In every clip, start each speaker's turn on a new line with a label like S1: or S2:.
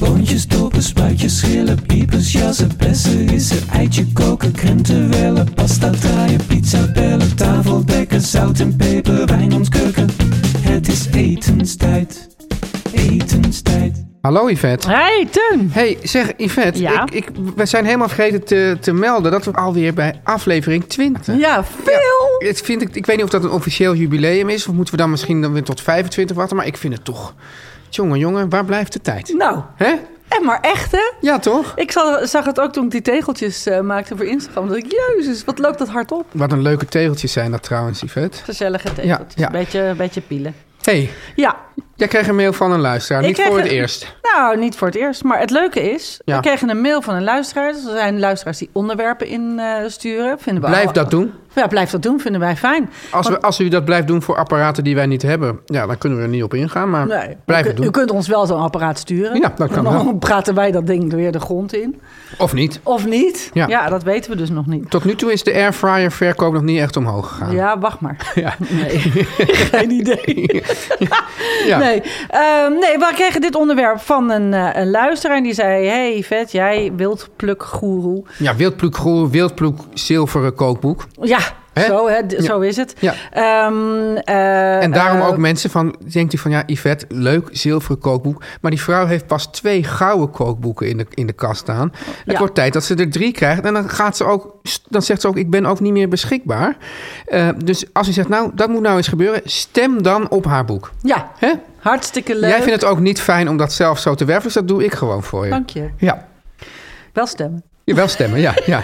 S1: Boontjes, dopen, spuitjes, schillen, piepers, jassen, bessen, rissen, eitje koken, krenten wellen, pasta draaien, pizza bellen, tafel dekken, zout en peper, wijn ontkurken. Het is etenstijd, etenstijd.
S2: Hallo Yvette.
S3: Hey, Teun.
S2: Hey, zeg Yvette,
S3: Ja?
S2: ik, ik, we zijn helemaal vergeten te, te melden dat we alweer bij aflevering 20.
S3: Ja, veel.
S2: Het vind ik, ik weet niet of dat een officieel jubileum is, of moeten we dan misschien dan weer tot 25 wachten, maar ik vind het toch. Jongen, jongen, waar blijft de tijd?
S3: Nou,
S2: Hè?
S3: en maar echt, hè?
S2: Ja, toch?
S3: Ik zal- zag het ook toen ik die tegeltjes eh, maakte voor Instagram. Dat ik, jezus, wat loopt dat hard op.
S2: Wat een leuke tegeltjes zijn dat trouwens, Yvette.
S3: Gezellige tegeltjes.
S2: ja.
S3: Beetje, beetje pielen.
S2: hey,
S3: Ja.
S2: jij kreeg een mail van een luisteraar,
S3: Ik
S2: niet
S3: kreeg
S2: voor het
S3: een-
S2: eerst.
S3: Nou, niet voor het eerst. Maar het leuke is,
S2: Ja.
S3: we kregen een mail van een luisteraar. Dus er zijn luisteraars die onderwerpen insturen. vinden we
S2: Blijf
S3: al-
S2: dat doen.
S3: Ja, blijf dat doen. Vinden wij fijn.
S2: Als, we, als u dat blijft doen voor apparaten die wij niet hebben, ja, dan kunnen we er niet op ingaan, maar
S3: Nee,
S2: blijf
S3: u,
S2: het
S3: kun- u
S2: doen.
S3: kunt ons wel zo'n apparaat sturen.
S2: Ja, dat kan
S3: En Dan
S2: wel.
S3: praten wij dat ding weer de grond in.
S2: Of niet.
S3: Of niet.
S2: Ja.
S3: ja dat weten we dus nog niet.
S2: Tot nu toe is de airfryer verkoop nog niet echt omhoog gegaan.
S3: Ja, wacht maar.
S2: Ja.
S3: Nee, geen idee.
S2: Ja.
S3: Nee. Ehm, nee, we kregen dit onderwerp van een, eh, een luisteraar. En die zei, hey vet, jij wildplukgoeroe.
S2: Ja, wildploek groen, wildploek zilveren kookboek.
S3: Ja,
S2: Hè?
S3: zo, hè, d-
S2: Ja.
S3: zo is het.
S2: Ja.
S3: Ehm, eh,
S2: En daarom
S3: eh,
S2: ook mensen van, denkt u van ja, Yvette, leuk zilveren kookboek. Maar die vrouw heeft pas twee gouden kookboeken in de, in de kast staan. Het
S3: Ja.
S2: wordt tijd dat ze er drie krijgt. En dan, gaat ze ook, dan zegt ze ook, ik ben ook niet meer beschikbaar. Eh, dus als u zegt, nou, dat moet nou eens gebeuren, stem dan op haar boek.
S3: Ja,
S2: Hè?
S3: hartstikke leuk.
S2: Jij vindt het ook niet fijn om dat zelf zo te werven, dus dat doe ik gewoon voor je.
S3: Dank je.
S2: Ja.
S3: Wel stemmen.
S2: Je wel stemmen, ja. ja.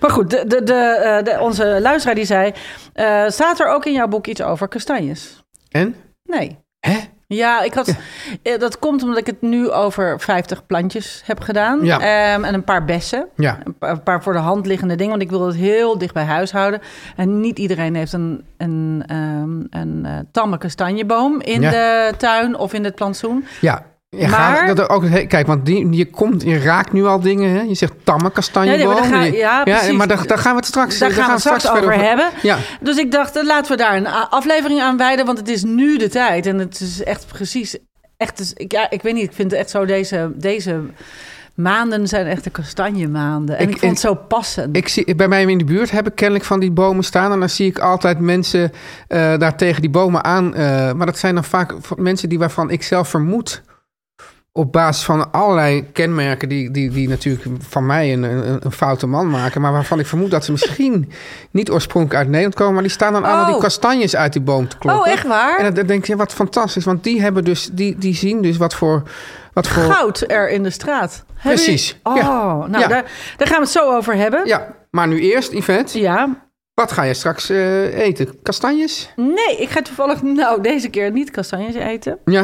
S3: Maar goed, de, de, de, eh, de- onze luisteraar die zei... eh, staat er ook in jouw boek iets over kastanjes?
S2: En?
S3: Nee.
S2: Hè?
S3: Ja, ik had, eh, dat komt omdat ik het nu over 50 plantjes heb gedaan.
S2: Ja.
S3: Ehm, en een paar bessen.
S2: Ja.
S3: Een pa- een paar voor de hand liggende dingen. Want ik wil het heel dicht bij huis houden. En niet iedereen heeft een, een, ehm, een eh, tamme kastanjeboom in
S2: Ja.
S3: de tuin of in het plantsoen.
S2: Ja. Ja, ga-
S3: Maar-
S2: dat er ook, he- kijk, want die, je, komt, je raakt nu al dingen. Hè? Je zegt tamme
S3: Nee,
S2: kastanjeboom.
S3: nee, maar daar ga-
S2: en je-
S3: ja, precies.
S2: maar Dus daar, daar gaan we het straks,
S3: Daar gaan we het straks over
S2: verder
S3: hebben.
S2: Ja.
S3: Dus ik dacht, eh, laten we daar een a- aflevering aan wijden. Want het is nu de tijd. En het is echt precies... Echt, het is- ik, ja, ik weet niet, ik vind het echt zo deze... deze Maanden zijn echt de kastanjemaanden. En
S2: Ik-
S3: ik, vond het
S2: ik-
S3: zo passend.
S2: Ik zie, bij mij in de buurt heb ik kennelijk van die bomen staan. En dan zie ik altijd mensen eh, daar tegen die bomen aan. eh, maar dat zijn dan vaak v- mensen die waarvan ik zelf vermoed. Op basis van allerlei kenmerken die, die, die natuurlijk van mij een, een, een foute man maken. Maar waarvan ik vermoed dat ze misschien niet oorspronkelijk uit Nederland komen. Maar die staan dan allemaal die
S3: Oh.
S2: kastanjes uit die boom te kloppen.
S3: Oh, echt waar?
S2: En dan- dan denk je, wat fantastisch. Want die, hebben dus, die, die zien dus wat voor... Wat voor
S3: goud er in de straat. Hebben
S2: Precies,
S3: jullie-
S2: ja.
S3: Oh, nou,
S2: Ja.
S3: Daar, daar gaan we het zo over hebben.
S2: Ja, maar nu eerst, Yvette.
S3: Ja.
S2: Wat ga je straks eh, eten? Kastanjes?
S3: Nee, ik ga toevallig nou deze keer niet kastanjes eten.
S2: Ja.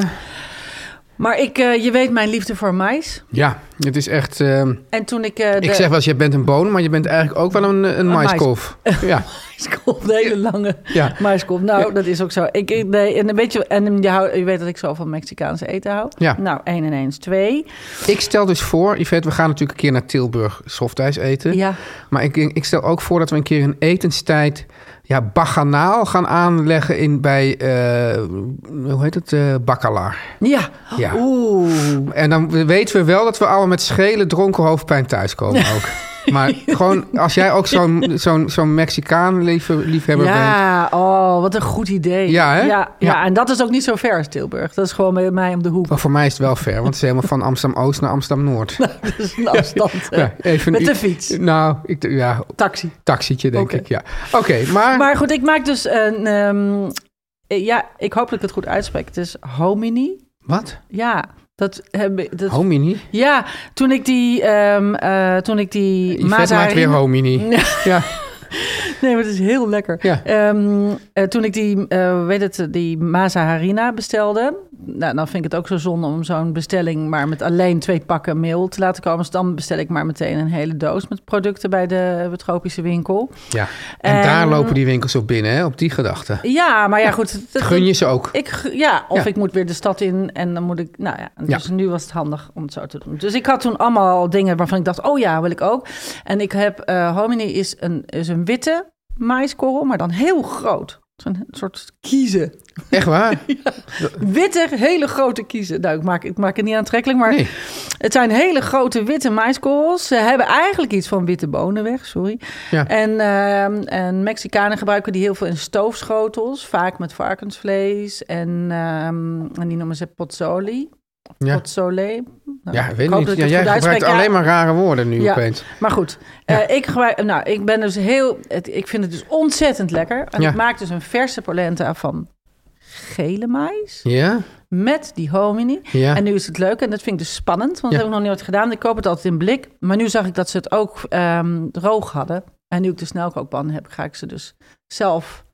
S3: Maar ik, eh, je weet mijn liefde voor mais.
S2: Ja, het is echt... ehm,
S3: En toen ik... eh, de,
S2: Ik zeg wel eens, je bent een boon, maar je bent eigenlijk ook wel een, een maiskolf. Ja,
S3: Maiskolf, de hele lange
S2: Ja.
S3: maiskolf. Nou, dat is ook zo. Ik, ik- nee, en een beetje, en eh, je, hou- je weet dat ik zo van Mexicaanse eten hou.
S2: Ja.
S3: Nou, één en één is twee.
S2: ik stel dus voor, Yvette, we gaan natuurlijk een keer naar Tilburg softijs eten.
S3: Ja.
S2: Maar ik, ik stel ook voor dat we een keer een etenstijd... Ja, baganaal gaan aanleggen in, bij, eh, hoe heet het, eh bakkelaar.
S3: Ja.
S2: Ja.
S3: Oeh.
S2: En dan weten we wel dat we allemaal met schele dronken hoofdpijn thuiskomen ook. Maar gewoon, als jij ook zo'n zo'n zo'n Mexicaan lief- liefhebber bent.
S3: Ja, oh, wat een goed idee.
S2: Ja, hè?
S3: Ja, ja,
S2: Ja. Oh.
S3: en dat is ook niet zo ver als Tilburg. Dat is gewoon bij mij om de hoek.
S2: Maar voor mij is het wel ver, want het is helemaal van Amsterdam-Oost naar Amsterdam-Noord.
S3: Dat is een afstand. hè.
S2: Ja, even
S3: Met de
S2: iets-
S3: fiets.
S2: Nou, ik, ja,
S3: Taxi.
S2: taxietje denk
S3: Oké.
S2: ik, ja. Oké, maar,
S3: Maar goed, ik maak dus een... ehm, eh, ja, ik hoop dat ik het goed uitspreek. Het is homini.
S2: Wat?
S3: Ja, dat heb ik... Dat,
S2: Homini?
S3: ja, toen ik die... ehm, eh, toen ik die
S2: Yvette maakt weer
S3: Mazarine-
S2: homini.
S3: Nee.
S2: Ja,
S3: Nee, maar het is heel lekker.
S2: Ja.
S3: Ehm, eh, toen ik die, eh, weet het, die Masa Harina bestelde... Nou, dan vind ik het ook zo zonde om zo'n bestelling... maar met alleen twee pakken meel te laten komen. Dus dan bestel ik maar meteen een hele doos met producten... bij de, de tropische winkel.
S2: ja. En
S3: Ehm,
S2: daar lopen die winkels op binnen, hè, op die gedachte.
S3: Ja, maar ja, goed. dat-
S2: Gun je ze ook?
S3: Ik, gu- ja, of
S2: Ja.
S3: ik moet weer de stad in en dan moet ik... Nou ja,
S2: Ja.
S3: dus nu was het handig om het zo te doen. Dus ik had toen allemaal dingen waarvan ik dacht... oh ja, wil ik ook. En ik heb... eh hominy is een, is een witte maïskorrel, maar dan heel groot. Zo'n soort kiezen.
S2: Echt waar?
S3: Witte, hele grote kiezen. Nou, ik maak, ik maak het niet aantrekkelijk, maar...
S2: Nee.
S3: Het zijn hele grote witte maiskorrels. Ze hebben eigenlijk iets van witte bonen weg, sorry.
S2: Ja.
S3: En, ehm, en Mexicanen gebruiken die heel veel in stoofschotels. Vaak met varkensvlees. En, ehm, en die noemen ze potzoli.
S2: Ja.
S3: Potzole. Nou,
S2: Ja, ik weet
S3: hoop
S2: niet.
S3: dat ik
S2: Ja,
S3: het
S2: jij
S3: goed uitspreek.
S2: gebruikt
S3: Ja,
S2: alleen maar rare woorden nu
S3: Ja.
S2: opeens.
S3: Maar goed, eh, ik, gebruik, nou, ik ben dus heel... Het, ik vind het dus ontzettend lekker. En
S2: Ja.
S3: ik maak dus een verse polenta van gele mais
S2: Ja?
S3: met die hominy.
S2: Ja.
S3: En nu is het leuk en dat vind ik dus spannend, want
S2: Ja.
S3: dat heb ik nog nooit gedaan. Ik koop het altijd in blik, maar nu zag ik dat ze het ook ehm, droog hadden. En nu ik de snelkookpan heb, ga ik ze dus zelf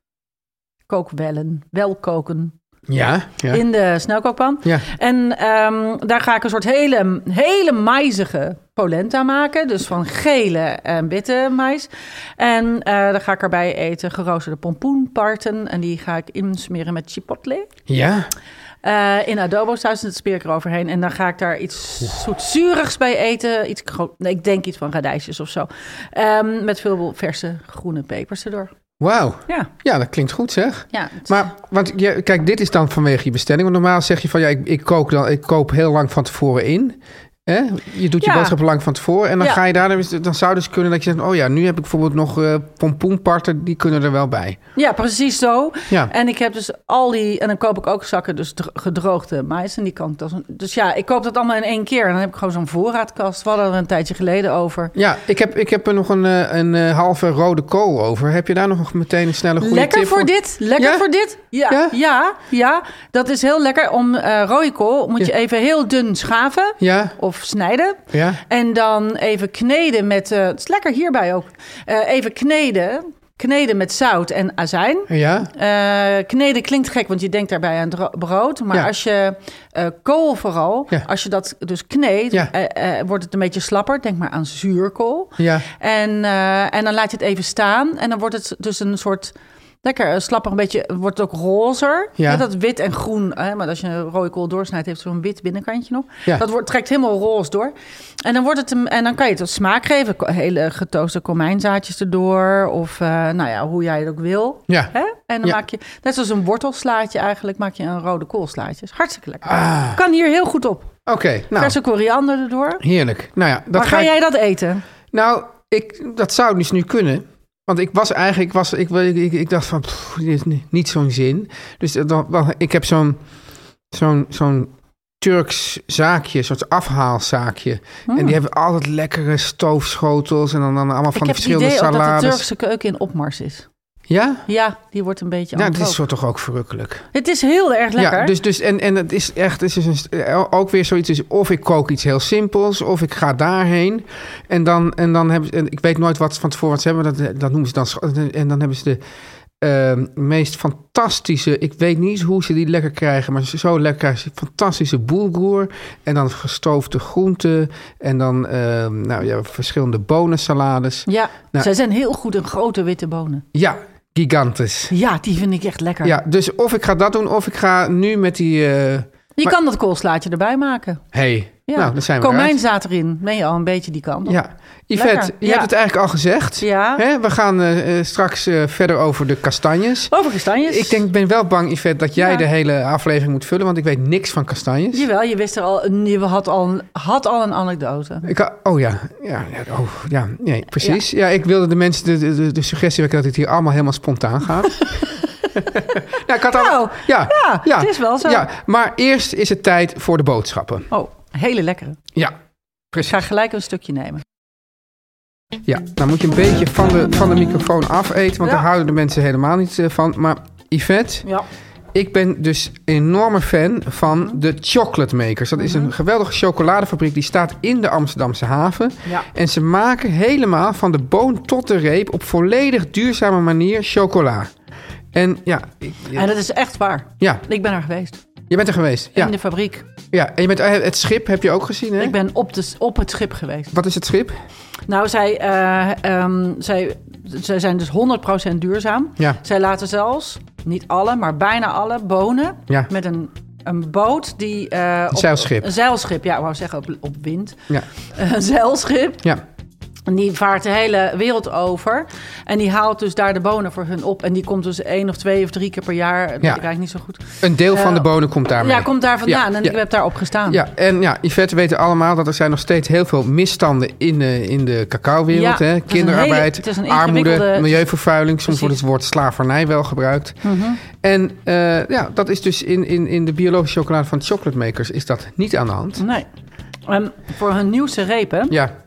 S3: kookwellen, wel koken
S2: Ja? Ja?
S3: in de snelkookpan.
S2: Ja.
S3: En ehm, daar ga ik een soort hele, hele maizige polenta maken. Dus van gele en witte mais. En eh, daar ga ik erbij eten geroosterde pompoenparten. En die ga ik insmeren met chipotle.
S2: Ja?
S3: Eh, in adobo saus en dat speer ik eroverheen. En dan ga ik daar iets zoetzurigs bij eten. Iets, gro- nee, ik denk iets van radijsjes of zo. Ehm, met veel verse groene pepers erdoor.
S2: Wauw.
S3: Ja,
S2: Ja, dat klinkt goed zeg.
S3: ja. het-
S2: Maar, want je, kijk, dit is dan vanwege je bestelling. Want normaal zeg je van, ja, ik, ik, kook dan, ik koop heel lang van tevoren in. Hè? Je doet
S3: Ja.
S2: je boodschap lang van tevoren. En dan
S3: Ja.
S2: ga je daar, dan is het- dan zou dus kunnen dat je zegt... oh ja, nu heb ik bijvoorbeeld nog eh pompoenparten, die kunnen er wel bij.
S3: ja, precies zo.
S2: Ja.
S3: En ik heb dus al die... En dan koop ik ook zakken dus dro- gedroogde mais. En die kan ik dan... Dus ja, ik koop dat allemaal in één keer. En dan heb ik gewoon zo'n voorraadkast. We hadden er een tijdje geleden over.
S2: Ja, ik heb, ik heb er nog een, eh, een eh, halve rode kool over. Heb je daar nog meteen een snelle goede
S3: Lekker
S2: tip
S3: voor dit, lekker
S2: Ja?
S3: voor dit. Ja,
S2: Ja?
S3: ja? ja, Dat is heel lekker om eh rode kool moet je
S2: Ja.
S3: even heel dun schaven.
S2: Ja,
S3: of snijden.
S2: Ja.
S3: En dan even kneden met... eh, het is lekker hierbij ook. Eh, even kneden. Kneden met zout en azijn.
S2: ja,
S3: Eh, kneden klinkt gek, want je denkt daarbij aan dro- brood. Maar
S2: Ja.
S3: als je eh, kool vooral,
S2: Ja.
S3: als je dat dus kneedt,
S2: Ja.
S3: eh, eh, wordt het een beetje slapper. Denk maar aan zuurkool.
S2: Ja.
S3: En, eh, en dan laat je het even staan. En dan wordt het dus een soort lekker eh, slapper, een beetje, wordt het ook rozer.
S2: Ja.
S3: Hè, dat wit en groen. Hè, maar als je een rode kool doorsnijdt, heeft het zo'n wit binnenkantje nog.
S2: Ja.
S3: Dat wordt, trekt helemaal roze door. En dan, wordt het een, en dan kan je het een smaak geven. Ko- Hele getooste komijnzaadjes erdoor. Of eh, nou ja, hoe jij het ook wil.
S2: Ja.
S3: Hè? En dan
S2: Ja.
S3: maak je, net zoals een wortelslaatje eigenlijk, maak je een rode koolslaatje. Is Hartstikke lekker.
S2: Ah.
S3: Kan hier heel goed op.
S2: oké. nou,
S3: Verse koriander erdoor.
S2: heerlijk. Nou ja, dat
S3: Maar
S2: ga
S3: ga
S2: ik-
S3: jij dat eten?
S2: Nou, ik, dat zou dus nu kunnen. Want ik was eigenlijk, ik, was, ik, ik, ik, ik dacht van, pff, dit is ni- niet zo'n zin. Dus dan, dan- ik heb zo'n zo'n zo'n Turks zaakje, een soort afhaalzaakje. En die hebben altijd lekkere stoofschotels en dan, dan allemaal
S3: Hmm. ik
S2: van
S3: heb
S2: die
S3: het
S2: verschillende
S3: idee ook dat de
S2: salades.
S3: Turkse keuken in opmars is.
S2: Ja?
S3: Ja, die wordt een beetje
S2: Ja,
S3: aan
S2: dat
S3: het
S2: is zo
S3: roken.
S2: toch ook verrukkelijk.
S3: Het is heel erg lekker.
S2: Ja, dus, dus en, en het is echt, het is dus een- ook weer zoiets. Dus of ik kook iets heel simpels, of ik ga daarheen. En dan, en dan hebben ze, en ik weet nooit wat ze van tevoren wat ze hebben, dat, dat noemen ze dan. scho- En dan hebben ze de ehm, meest fantastische, ik weet niet hoe ze die lekker krijgen, maar ze- zo lekker krijgen ze fantastische boelgoer. En dan gestoofde groenten. En dan, ehm, nou ja, verschillende bonensalades.
S3: ja.
S2: Nou-
S3: zij zijn heel goed in grote witte bonen.
S2: Ja, gigantisch.
S3: Ja, die vind ik echt lekker.
S2: Ja, dus of ik ga dat doen, of ik ga nu met die. eh,
S3: je
S2: maar-
S3: kan dat koolslaatje erbij maken.
S2: hey,
S3: Ja.
S2: Nou, dan zijn we
S3: Komijn
S2: eruit.
S3: staat erin. Ben je al een beetje die kant op?
S2: Ja. Yvette,
S3: Lekker,
S2: je
S3: ja.
S2: hebt het eigenlijk al gezegd.
S3: Ja.
S2: Hè? We gaan eh, eh, straks eh, verder over de kastanjes.
S3: Over kastanjes.
S2: Ik denk, ben wel bang, Yvette, dat jij
S3: Oh, Ja.
S2: de hele aflevering moet vullen, want ik weet niks van kastanjes.
S3: Jawel, je wist er al, een- je had al, een- had al een anekdote.
S2: Ik, ha- oh ja, ja, ja, oh, ja nee, precies. Ja. ik wilde de mensen de, de, de- de suggestie wekken dat het hier allemaal helemaal spontaan gaat. ja, ik had al,
S3: Nou,
S2: ja,
S3: ja, het is wel zo.
S2: Ja, maar eerst is het tijd voor de boodschappen.
S3: Oh, hele lekkere.
S2: Ja,
S3: Ik ga
S2: precies.
S3: gelijk een stukje nemen.
S2: Ja, dan moet je een beetje van de, van de microfoon afeten, want
S3: Ja.
S2: daar houden de mensen helemaal niet eh, van. Maar Yvette,
S3: Ja.
S2: ik ben dus enorme fan van de Chocolate Makers. Dat is
S3: Mhm.
S2: een geweldige chocoladefabriek die staat in de Amsterdamse haven.
S3: Ja.
S2: En ze maken helemaal van de boon tot de reep op volledig duurzame manier chocola. En ja, ik-
S3: En dat is echt waar.
S2: ja
S3: Ik ben er geweest.
S2: je bent er geweest. Ja,
S3: In de fabriek.
S2: ja. en je bent, eh, het schip heb je ook gezien, hè?
S3: Ik ben op, de, op het schip geweest.
S2: Wat is het schip?
S3: Nou, zij, eh, ehm, zij, zij zijn dus 100% duurzaam.
S2: Ja.
S3: Zij laten zelfs, niet alle, maar bijna alle bonen
S2: Ja.
S3: met een, een boot die... eh, op-
S2: zeilschip.
S3: Een zeilschip, ja, ik wou zeggen op, op wind.
S2: Ja,
S3: Een zeilschip,
S2: ja.
S3: En die vaart de hele wereld over. En die haalt dus daar de bonen voor hun op. En die komt dus één of twee of drie keer per jaar. Dat weet ik eigenlijk niet zo goed.
S2: een deel van
S3: Eh,
S2: de bonen komt daar mee.
S3: Ja, komt daar vandaan.
S2: Ja,
S3: En
S2: ja.
S3: ik heb daarop gestaan.
S2: Ja, en ja, Yvette weten allemaal dat er zijn nog steeds heel veel misstanden in, eh, in de cacaowereld.
S3: Ja,
S2: hè?
S3: het is een hele-
S2: Kinderarbeid,
S3: het is een
S2: armoede,
S3: ingewikkelde-
S2: milieuvervuiling. Soms
S3: Precies. Mhm.
S2: wordt het woord slavernij wel gebruikt. En eh, ja, dat is dus in, in, in de biologische chocolade van de chocolate makers is dat niet aan de hand.
S3: Nee. Ehm, voor hun nieuwste repen.
S2: Ja,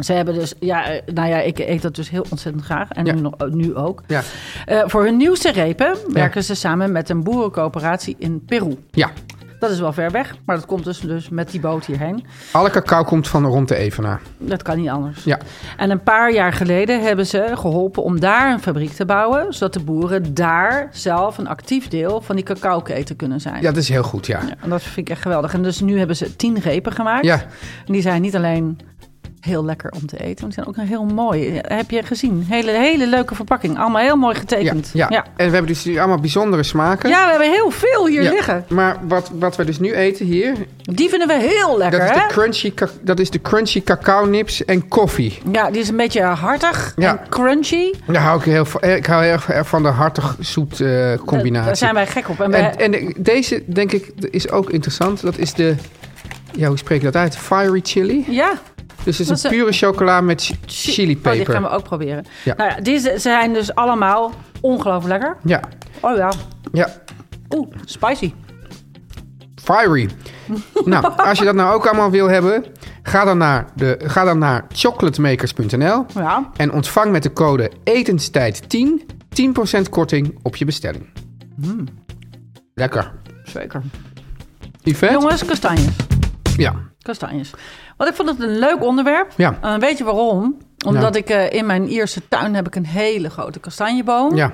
S3: Ze hebben dus, ja, eh, nou ja, ik eet dat dus heel ontzettend graag. En
S2: Ja.
S3: nu, nog, nu ook.
S2: ja,
S3: Eh, voor hun nieuwste repen werken ze samen met een boerencoöperatie in Peru.
S2: ja.
S3: Dat is wel ver weg, maar dat komt dus, dus met die boot hierheen.
S2: Alle cacao komt van rond de Evenaar.
S3: Dat kan niet anders.
S2: Ja,
S3: En een paar jaar geleden hebben ze geholpen om daar een fabriek te bouwen, zodat de boeren daar zelf een actief deel van die cacaoketen kunnen zijn.
S2: ja dat is heel goed, ja.
S3: En dat vind ik echt geweldig. En dus nu hebben ze tien repen gemaakt.
S2: Ja.
S3: En die zijn niet alleen heel lekker om te eten, maar die zijn ook heel mooi. Heb je gezien? Hele, hele leuke verpakking. Allemaal heel mooi
S2: Ja,
S3: getekend.
S2: ja.
S3: ja.
S2: en we hebben dus nu allemaal bijzondere smaken.
S3: Ja, we hebben heel veel hier
S2: Ja.
S3: liggen.
S2: Maar wat, wat we dus nu eten hier,
S3: Die vinden we heel
S2: dat
S3: lekker,
S2: is, de
S3: hè?
S2: crunchy, ca- dat is de crunchy cacao nips en koffie.
S3: Ja, die is een beetje hartig
S2: Ja.
S3: en crunchy.
S2: Daar hou ik heel van. Ik hou heel erg van de hartig zoet eh, combinatie.
S3: Daar zijn wij gek op. En, wij-
S2: en, eh, en de- deze denk ik is ook interessant. Dat is de ja, hoe spreek je dat uit? Fiery chili.
S3: ja,
S2: Dus het
S3: Dat
S2: is
S3: is
S2: een
S3: een-
S2: pure chocola met chi-
S3: chi-
S2: chili
S3: Oh, die gaan we
S2: peper.
S3: ook proberen.
S2: Ja.
S3: Nou ja, die zijn dus allemaal ongelooflijk lekker.
S2: Ja,
S3: Oh ja.
S2: ja,
S3: Oeh, spicy.
S2: fiery. nou, als je dat nou ook allemaal wil hebben, ga dan naar, de, ga dan naar chocolatemakers.nl
S3: Ja.
S2: en ontvang met de code etenstijd10 10% korting op je bestelling. Lekker.
S3: Zeker.
S2: Yvette?
S3: Jongens, kastanjes.
S2: Ja.
S3: Kastanjes. Want ik vond het een leuk onderwerp.
S2: Ja.
S3: Eh, weet je waarom? Omdat
S2: Nou.
S3: ik eh, in mijn Ierse tuin heb ik een hele grote kastanjeboom.
S2: Ja.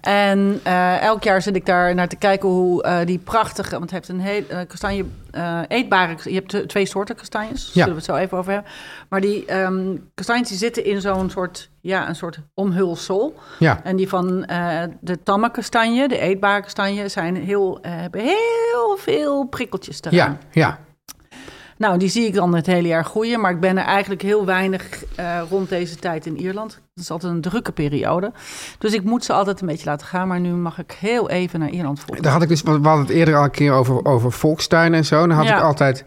S3: En eh, elk jaar zit ik daar naar te kijken hoe eh, die prachtige... Want het heeft een heel eh, kastanje... eh, eetbare... Je hebt t- twee soorten kastanjes. Daar
S2: Ja.
S3: zullen we het zo even over hebben. Maar die ehm, kastanjes die zitten in zo'n soort... Ja, een soort omhulsel.
S2: Ja.
S3: En die van eh, de tamme kastanje, de eetbare kastanje... Zijn heel, eh, hebben heel veel prikkeltjes eraan.
S2: Ja, ja.
S3: Nou, die zie ik dan het hele jaar groeien. Maar ik ben er eigenlijk heel weinig eh, rond deze tijd in Ierland. Het is altijd een drukke periode. Dus ik moet ze altijd een beetje laten gaan. Maar nu mag ik heel even naar Ierland volgen.
S2: Daar had ik dus, we hadden het eerder al een keer over, over volkstuinen en zo. Dan had
S3: Ja.
S2: ik altijd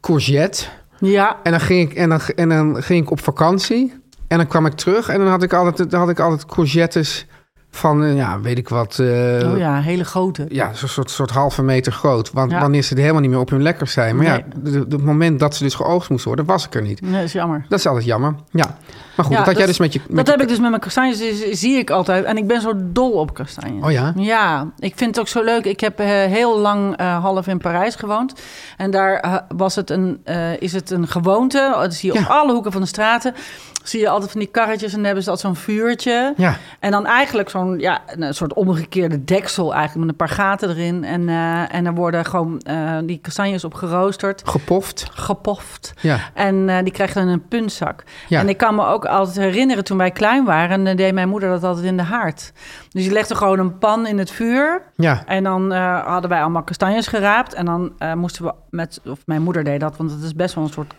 S2: courgette.
S3: Ja,
S2: En dan, ging ik, en, dan, en dan ging ik op vakantie. En dan kwam ik terug en dan had ik altijd, dan had ik altijd courgettes van, eh, ja, weet ik wat. eh,
S3: oh
S2: ja.
S3: ja, hele grote.
S2: zo'n soort, soort halve meter groot. Want
S3: Ja.
S2: wanneer ze er helemaal niet meer op hun lekker zijn. Maar ja, de- de- op het moment dat ze dus geoogst moest worden, was ik er niet.
S3: Nee, dat is jammer.
S2: Dat is altijd jammer. Ja. Maar goed,
S3: Ja,
S2: dat had jij
S3: dat-
S2: dus met je... Met
S3: Dat
S2: je-
S3: heb ik dus met mijn kastanjes, die zie ik altijd. En ik ben zo dol op kastanjes.
S2: Oh ja?
S3: Ja, ik vind het ook zo leuk. Ik heb eh, heel lang eh, half in Parijs gewoond. En daar eh, was het een, eh, is het een gewoonte, dat zie je op
S2: Ja.
S3: alle hoeken van de straten... zie je altijd van die karretjes en dan hebben ze altijd zo'n vuurtje.
S2: Ja.
S3: En dan eigenlijk zo'n ja, een eh, soort omgekeerde deksel eigenlijk met een paar gaten erin. En, eh, en dan worden gewoon eh, die kastanjes op geroosterd,
S2: Gepoft.
S3: gepoft.
S2: Ja.
S3: En eh, die krijg je dan in een puntzak.
S2: Ja.
S3: En ik kan me ook altijd herinneren, toen wij klein waren, eh, deed mijn moeder dat altijd in de haard. Dus die legde gewoon een pan in het vuur.
S2: Ja.
S3: En dan eh, hadden wij allemaal kastanjes geraapt. En dan eh, moesten we met, of mijn moeder deed dat, want het is best wel een soort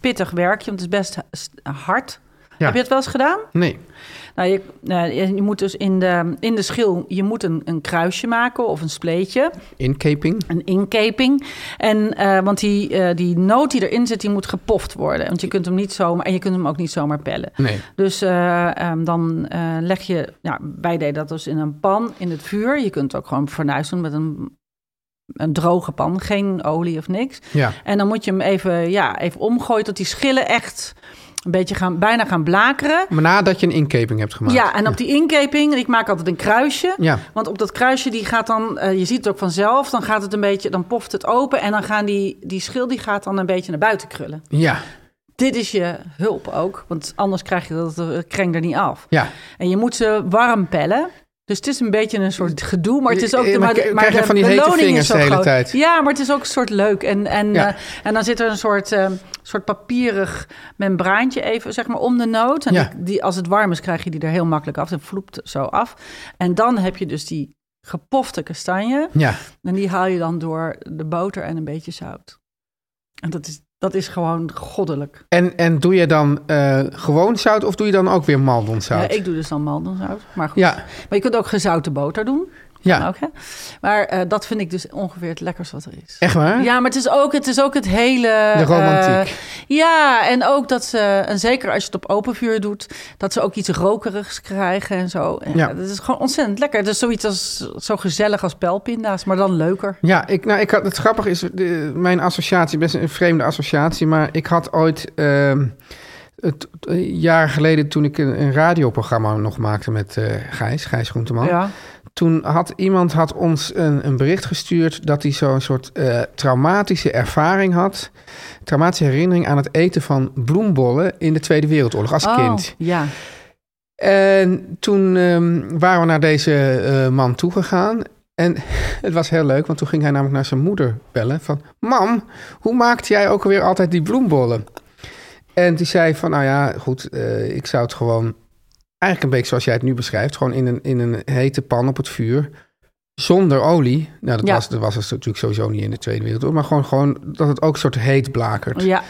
S3: pittig werkje. Want het is best s- hard.
S2: Ja.
S3: Heb je het wel eens gedaan?
S2: Nee.
S3: Nou, je, eh, je- je moet dus in de, in de schil, je moet een, een kruisje maken of een spleetje,
S2: Inkeping.
S3: een inkeping. En, eh, want die, eh, die noot die erin zit, die moet gepoft worden. Want je kunt hem niet zomaar, en je kunt hem ook niet zomaar pellen.
S2: Nee.
S3: Dus eh, ehm, dan eh, leg je, ja, wij deden dat dus in een pan in het vuur. Je kunt het ook gewoon fornuis doen met een, een droge pan, geen olie of niks.
S2: Ja.
S3: En dan moet je hem even, ja, even omgooien tot die schillen echt een beetje gaan, bijna gaan blakeren.
S2: Maar nadat je een inkeping hebt gemaakt.
S3: Ja, en op die inkeping, ik maak altijd een kruisje.
S2: Ja.
S3: Want op dat kruisje, die gaat dan, eh, je ziet het ook vanzelf, dan gaat het een beetje, dan poft het open en dan gaan die, die schil, die gaat dan een beetje naar buiten krullen.
S2: Ja.
S3: Dit is je hulp ook, want anders krijg je dat eh, kreng er niet af.
S2: Ja.
S3: En je moet ze warm pellen. Dus het is een beetje een soort gedoe, maar het is ook...
S2: Ja,
S3: de-
S2: maar
S3: maar de,
S2: krijg
S3: maar
S2: je
S3: de
S2: van die hete
S3: beloning is
S2: vingers
S3: zo
S2: de hele
S3: groot.
S2: tijd?
S3: Ja, maar het is ook een soort leuk. En, en,
S2: Ja.
S3: eh, en dan zit er een soort, eh, soort papierig membraantje even zeg maar, om de noot. En
S2: Ja.
S3: die, die- als het warm is, krijg je die er heel makkelijk af. Dan vloept het zo af. En dan heb je dus die gepofte kastanje.
S2: Ja.
S3: En die haal je dan door de boter en een beetje zout. En dat is, dat is gewoon goddelijk.
S2: En, en doe je dan eh, gewoon zout of doe je dan ook weer maldonzout?
S3: Ja, ik doe dus dan mandelzout. Maar goed.
S2: Ja.
S3: Maar je kunt ook gezouten boter doen.
S2: Ja.
S3: Ook, hè? Maar eh, dat vind ik dus ongeveer het lekkers wat er is.
S2: Echt waar?
S3: Ja, maar het is ook het, is ook het hele...
S2: De romantiek.
S3: eh, ja, en ook dat ze... En zeker als je het op open vuur doet... dat ze ook iets rokerigs krijgen en zo. Ja,
S2: Ja.
S3: Dat is gewoon ontzettend lekker. Het is zoiets als, zo gezellig als pelpinda's, maar dan leuker.
S2: Ja, ik, nou, ik had, het grappige is, de- mijn associatie, best een vreemde associatie, maar ik had ooit, ehm het, eh, jaren geleden toen ik een, een radioprogramma nog maakte met eh, Gijs, Gijs Groenteman,
S3: Ja.
S2: toen had iemand had ons een, een bericht gestuurd dat hij zo'n soort eh, traumatische ervaring had, traumatische herinnering aan het eten van bloembollen in de Tweede Wereldoorlog als
S3: Oh,
S2: kind.
S3: Ja.
S2: En toen ehm, waren we naar deze eh, man toegegaan. En het was heel leuk, want toen ging hij namelijk naar zijn moeder bellen. Van, mam, hoe maakte jij ook alweer altijd die bloembollen? En die zei van, nou ja, goed, eh, ik zou het gewoon... Eigenlijk een beetje zoals jij het nu beschrijft. Gewoon in een, in een hete pan op het vuur. Zonder olie. Nou, dat,
S3: Ja.
S2: was, dat was dus natuurlijk sowieso niet in de Tweede Wereldoorlog. Maar gewoon, gewoon dat het ook een soort heet blakert.
S3: ja.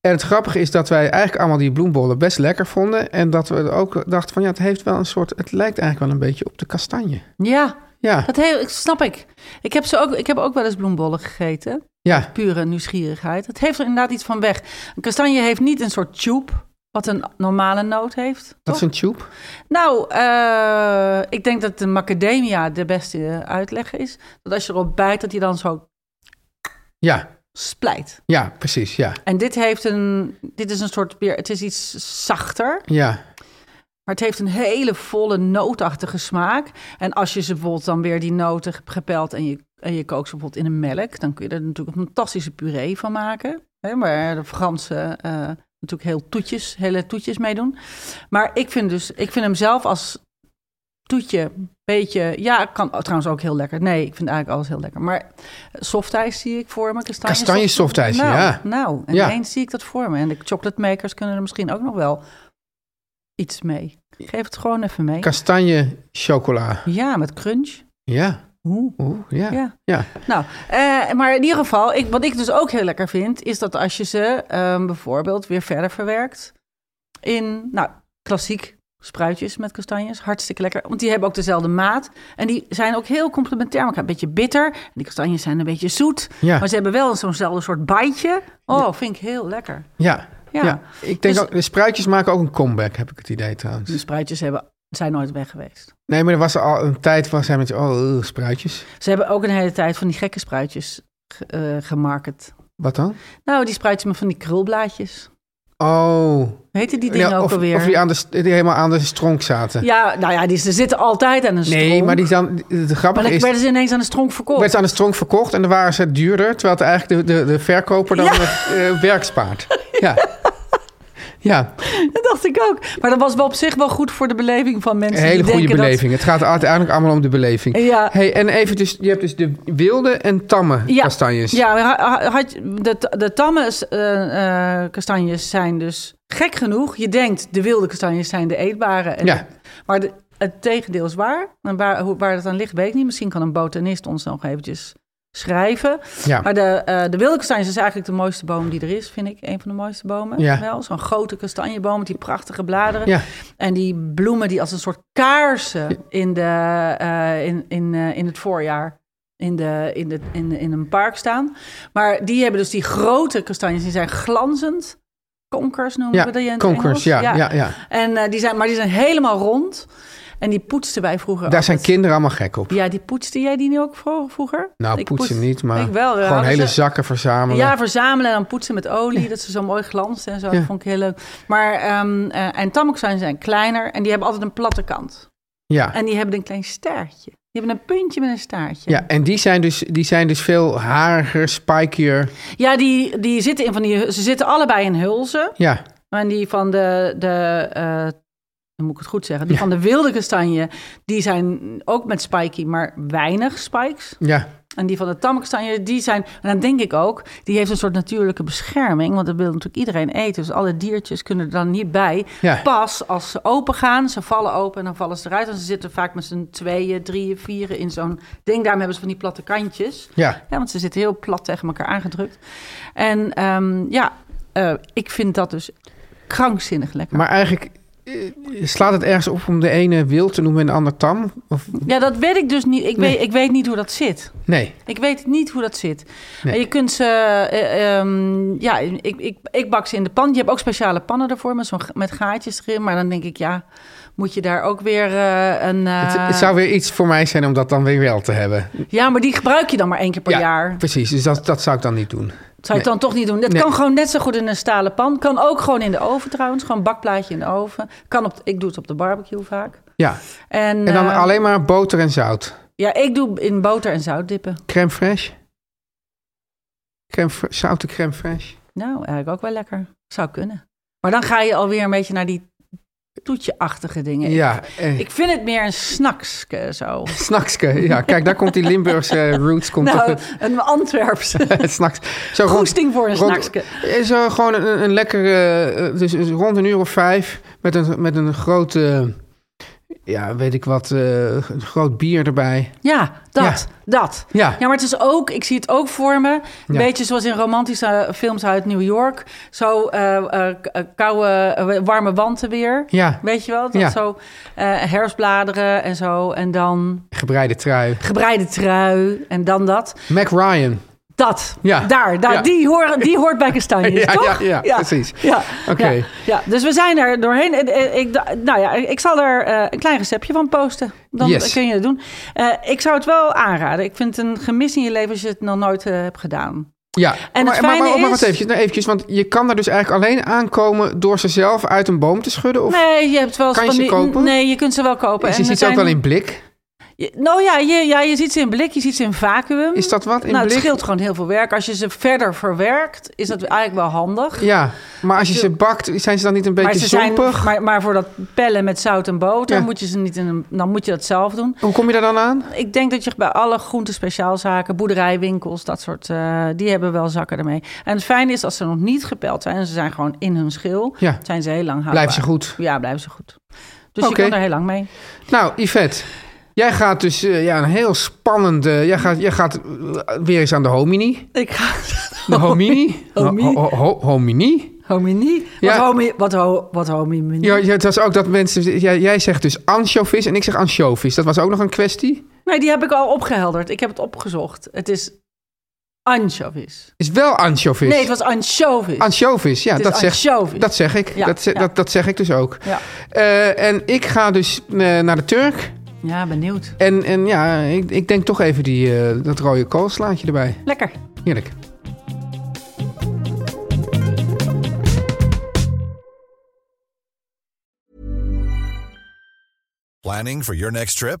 S2: En het grappige is dat wij eigenlijk allemaal die bloembollen best lekker vonden. En dat we ook dachten van ja, het heeft wel een soort. Het lijkt eigenlijk wel een beetje op de kastanje.
S3: Ja,
S2: Ja,
S3: dat heel, snap ik. Ik heb, ze ook, ik heb ook wel eens bloembollen gegeten.
S2: ja,
S3: pure nieuwsgierigheid. Het heeft er inderdaad iets van weg. Een kastanje heeft niet een soort tube, wat een normale noot heeft.
S2: dat
S3: Toch?
S2: is een tube.
S3: Nou, eh, ik denk dat de macadamia de beste eh, uitleg is. Dat als je erop bijt, dat hij dan zo
S2: Ja,
S3: splijt.
S2: ja, precies. Ja,
S3: En dit heeft een, dit is een soort weer, het is iets zachter,
S2: ja,
S3: maar het heeft een hele volle nootachtige smaak. En als je ze bijvoorbeeld dan weer die noten hebt gepeld en je, en je kookt ze bijvoorbeeld in een melk, dan kun je er natuurlijk een fantastische puree van maken. Hè, maar de Fransen eh, natuurlijk heel toetjes, hele toetjes meedoen. Maar ik vind, dus, ik vind hem zelf als toetje, beetje, ja, kan oh, trouwens ook heel lekker. Nee, ik vind eigenlijk alles heel lekker. Maar softijs zie ik voor me. Kastanje,
S2: Kastanje softijs,
S3: nou,
S2: ja.
S3: Nou, en
S2: Ja.
S3: ineens zie ik dat voor me. En de chocolate makers kunnen er misschien ook nog wel iets mee. Geef het gewoon even mee.
S2: kastanje chocola.
S3: Ja, met crunch.
S2: Ja,
S3: Oeh.
S2: oeh, ja, ja,
S3: Ja. Nou, eh, maar in ieder geval, ik, wat ik dus ook heel lekker vind, is dat als je ze ehm, bijvoorbeeld weer verder verwerkt in, nou, klassiek spruitjes met kastanjes, hartstikke lekker. Want die hebben ook dezelfde maat en die zijn ook heel complementair. elkaar. Een beetje bitter, en die kastanjes zijn een beetje zoet,
S2: Ja.
S3: maar ze hebben wel zo'nzelfde soort bijtje. Oh, vind ik heel lekker.
S2: ja.
S3: Ja.
S2: Ik denk
S3: Dus-
S2: ook, de spruitjes maken ook een comeback, heb ik het idee
S3: De
S2: trouwens.
S3: spruitjes hebben, zijn nooit weg geweest.
S2: Nee, maar er was al een tijd waar zij met oh, eh, spruitjes.
S3: Ze hebben ook een hele tijd van die gekke spruitjes ge- eh, gemarket.
S2: Wat dan?
S3: Nou, die spruitjes met van die krulblaadjes.
S2: Oh,
S3: Hoe heten die dingen
S2: Ja,
S3: ook
S2: of,
S3: alweer?
S2: of die, aan de, st- die helemaal aan de stronk zaten.
S3: Ja, nou ja, die, ze zitten altijd aan een stronk.
S2: nee, maar die dan. Het
S3: Maar
S2: grappige
S3: dan
S2: is.
S3: werden ze ineens aan de stronk verkocht.
S2: werd ze aan de stronk verkocht en dan waren ze duurder. Terwijl het eigenlijk de, de, de verkoper dan
S3: Ja.
S2: het eh, werk spaart. Ja. ja. Ja,
S3: Dat dacht ik ook. Maar dat was wel op zich wel goed voor de beleving van mensen.
S2: een hele
S3: die
S2: goede
S3: denken
S2: beleving. Het gaat uiteindelijk allemaal om de beleving.
S3: Dat, ja,
S2: Hey, en even dus, je hebt dus de wilde en tamme
S3: Ja.
S2: kastanjes.
S3: ja maar ha- had, je- de, de tamme eh, eh, kastanjes zijn dus gek genoeg. Je denkt de wilde kastanjes zijn de eetbare. En
S2: Ja.
S3: Maar de- het tegendeel is waar. En waar, hoe, waar dat aan ligt, weet ik niet. Misschien kan een botanist ons nog eventjes schrijven.
S2: Ja.
S3: Maar de, eh de wilde kastanje is eigenlijk de mooiste boom die er is, vind ik. Een van de mooiste bomen.
S2: Ja.
S3: Wel, zo'n grote kastanjeboom met die prachtige bladeren.
S2: Ja.
S3: En die bloemen die als een soort kaarsen in, de, eh, in, in, eh, in het voorjaar in, de, in, de, in, in een park staan. Maar die hebben dus die grote kastanjes, die zijn glanzend. Konkers noemen
S2: Ja,
S3: we dat in het Engels.
S2: konkers, ja, ja. ja,
S3: En, eh, die zijn, maar die zijn helemaal rond. En die poetsten wij vroeger
S2: Daar zijn
S3: altijd.
S2: kinderen allemaal gek op.
S3: Oh, Ja, die poetste jij die nu ook vro- vroeger?
S2: Nou,
S3: Ik
S2: poetsen
S3: poets-
S2: niet, maar
S3: ik wel. We
S2: gewoon
S3: hadden
S2: hele
S3: ze-
S2: zakken verzamelen.
S3: Ja, verzamelen en dan poetsen met olie. Dat ze zo mooi glanst en zo.
S2: Ja.
S3: Dat vond ik heel leuk. Maar, ehm eh en tamoxijn zijn kleiner en die hebben altijd een platte kant.
S2: ja.
S3: En die hebben een klein staartje. Die hebben een puntje met een staartje.
S2: Ja, en die zijn dus, die zijn dus veel hariger, spikier.
S3: Ja, die, die zitten in van die... Ze zitten allebei in hulzen.
S2: Ja,
S3: En die van de, de eh, dan moet ik het goed zeggen, die van de wilde kastanje, die zijn ook met spiky, maar weinig spikes.
S2: ja,
S3: En die van de tamme kastanje, die zijn, en dan denk ik ook, die heeft een soort natuurlijke bescherming, want dat wil natuurlijk iedereen eten, dus alle diertjes kunnen er dan niet bij.
S2: Ja.
S3: Pas als ze open gaan, ze vallen open en dan vallen ze eruit. En ze zitten vaak met z'n tweeën, drieën, vieren in zo'n ding. Daarom hebben ze van die platte kantjes.
S2: ja.
S3: Ja, want ze zitten heel plat tegen elkaar aangedrukt. En ehm, ja, eh, ik vind dat dus krankzinnig lekker.
S2: Maar eigenlijk eh, slaat het ergens op om de ene wild te noemen en de ander tam? Of,
S3: ja, dat weet ik dus niet. Ik,
S2: Nee.
S3: weet, ik weet niet hoe dat zit.
S2: nee,
S3: Ik weet niet hoe dat zit.
S2: Nee.
S3: En Je kunt ze... eh, ehm, ja, ik, ik, ik bak ze in de pan. Je hebt ook speciale pannen ervoor met, zo'n, ga- met gaatjes erin. Maar dan denk ik, ja, moet je daar ook weer eh, een... eh,
S2: het, het zou weer iets voor mij zijn om dat dan weer wel te hebben.
S3: Ja, maar die gebruik je dan maar één keer per
S2: ja,
S3: jaar.
S2: precies. Dus dat, dat zou ik dan niet doen.
S3: Zou je het dan toch niet doen? Dat
S2: Nee.
S3: kan gewoon net zo goed in een stalen pan. Kan ook gewoon in de oven trouwens. Gewoon een bakplaatje in de oven. Kan op, ik doe het op de barbecue vaak.
S2: Ja,
S3: En,
S2: en dan
S3: eh,
S2: alleen maar boter en zout.
S3: Ja, ik doe in boter en zout dippen.
S2: Crème fraîche? Crème fra- zoute crème fraîche?
S3: Nou, eigenlijk ook wel lekker. Zou kunnen. Maar dan ga je alweer een beetje naar die toetje-achtige dingen.
S2: Ja, eh,
S3: Ik vind het meer een snakske zo.
S2: snakske. Ja, kijk, daar komt die Limburgse roots. Komt
S3: nou,
S2: toch,
S3: een Antwerpse.
S2: het snaks. Zo rond-
S3: Goesting voor een
S2: rond-
S3: snakske.
S2: Is er gewoon een, een lekkere, eh, dus rond een uur of vijf, met een, met een grote, ja, weet ik wat, eh, een groot bier erbij.
S3: Ja, dat, dat.
S2: Ja.
S3: ja, maar het is ook, ik zie het ook voor me, een
S2: Ja.
S3: beetje zoals in romantische films uit New York. Zo eh, eh, k- koude, eh, warme wanten weer.
S2: Ja,
S3: Weet je wel? Dat
S2: Ja.
S3: Zo eh herfstbladeren en zo. En dan
S2: gebreide trui.
S3: gebreide trui en dan dat.
S2: Mac Ryan.
S3: Dat,
S2: Ja.
S3: daar, daar
S2: Ja.
S3: Die, horen, die hoort bij kastanjes,
S2: Ja,
S3: toch?
S2: ja, ja, precies.
S3: Ja,
S2: Oké.
S3: ja, ja. dus we zijn er doorheen. En, eh, Ik, da- nou ja, ik zal er eh, een klein receptje van posten. Dan
S2: Yes.
S3: kun je het doen. Eh, ik zou het wel aanraden. Ik vind het een gemis in je leven als je het nog nooit eh, hebt gedaan.
S2: Ja,
S3: het
S2: maar, maar,
S3: fijne
S2: maar, maar wacht
S3: is-
S2: eventjes, nou eventjes, want je kan daar dus eigenlijk alleen aankomen door ze zelf uit een boom te schudden? Of
S3: Nee, je hebt wel eens
S2: Kan je
S3: van
S2: ze
S3: die-
S2: kopen?
S3: Nee, je kunt ze wel kopen.
S2: is
S3: En
S2: is
S3: er
S2: iets ook
S3: zijn-
S2: wel in blik?
S3: Je- Nou ja je, ja, je ziet ze in blik, je ziet ze in vacuüm.
S2: Is dat wat, in
S3: nou,
S2: blik?
S3: het scheelt gewoon heel veel werk. Als je ze verder verwerkt, is dat eigenlijk wel handig.
S2: Ja, maar als je ze bakt, zijn ze dan niet een
S3: maar,
S2: beetje
S3: ze zijn,
S2: zompig?
S3: maar, maar voor dat pellen met zout en boter
S2: Ja.
S3: moet je ze niet in een, dan moet je dat zelf doen.
S2: Hoe kom je daar dan aan?
S3: Ik denk dat je bij alle groente speciaalzaken, boerderijwinkels, dat soort, eh, die hebben wel zakken ermee. En het fijne is als ze nog niet gepeld zijn en ze zijn gewoon in hun schil,
S2: Ja.
S3: zijn ze heel lang houdbaar.
S2: Blijven ze goed.
S3: Ja, blijven ze goed. Dus
S2: Oké.
S3: je kan er heel lang mee.
S2: Nou, Yvette, jij gaat dus eh, ja, een heel spannende... Jij gaat, jij gaat eh, weer eens aan de homini.
S3: Ik ga...
S2: De homini?
S3: Homi-
S2: Ho- ho- ho- homini?
S3: Homini?
S2: Ja.
S3: Wat homie, wat, ho, wat homie menu?
S2: Ja, ja, het was ook dat mensen... Jij, jij zegt dus anchovis en ik zeg anchovis. Dat was ook nog een kwestie.
S3: Nee, die heb ik al opgehelderd. Ik heb het opgezocht. Het is anchovies.
S2: Is wel anchovis.
S3: Nee, het was anchovies.
S2: Anchovis, ja,
S3: Het is
S2: dat zeg,
S3: anchovies.
S2: dat zeg ik.
S3: Ja,
S2: dat, ze-
S3: ja.
S2: Dat, dat zeg ik dus ook.
S3: Ja.
S2: Eh, en ik ga dus eh, naar de Turk.
S3: ja, benieuwd.
S2: En, en ja, ik, ik denk toch even die, eh, dat rode koolslaatje erbij.
S3: Lekker.
S2: Heerlijk.
S4: Planning for your next trip?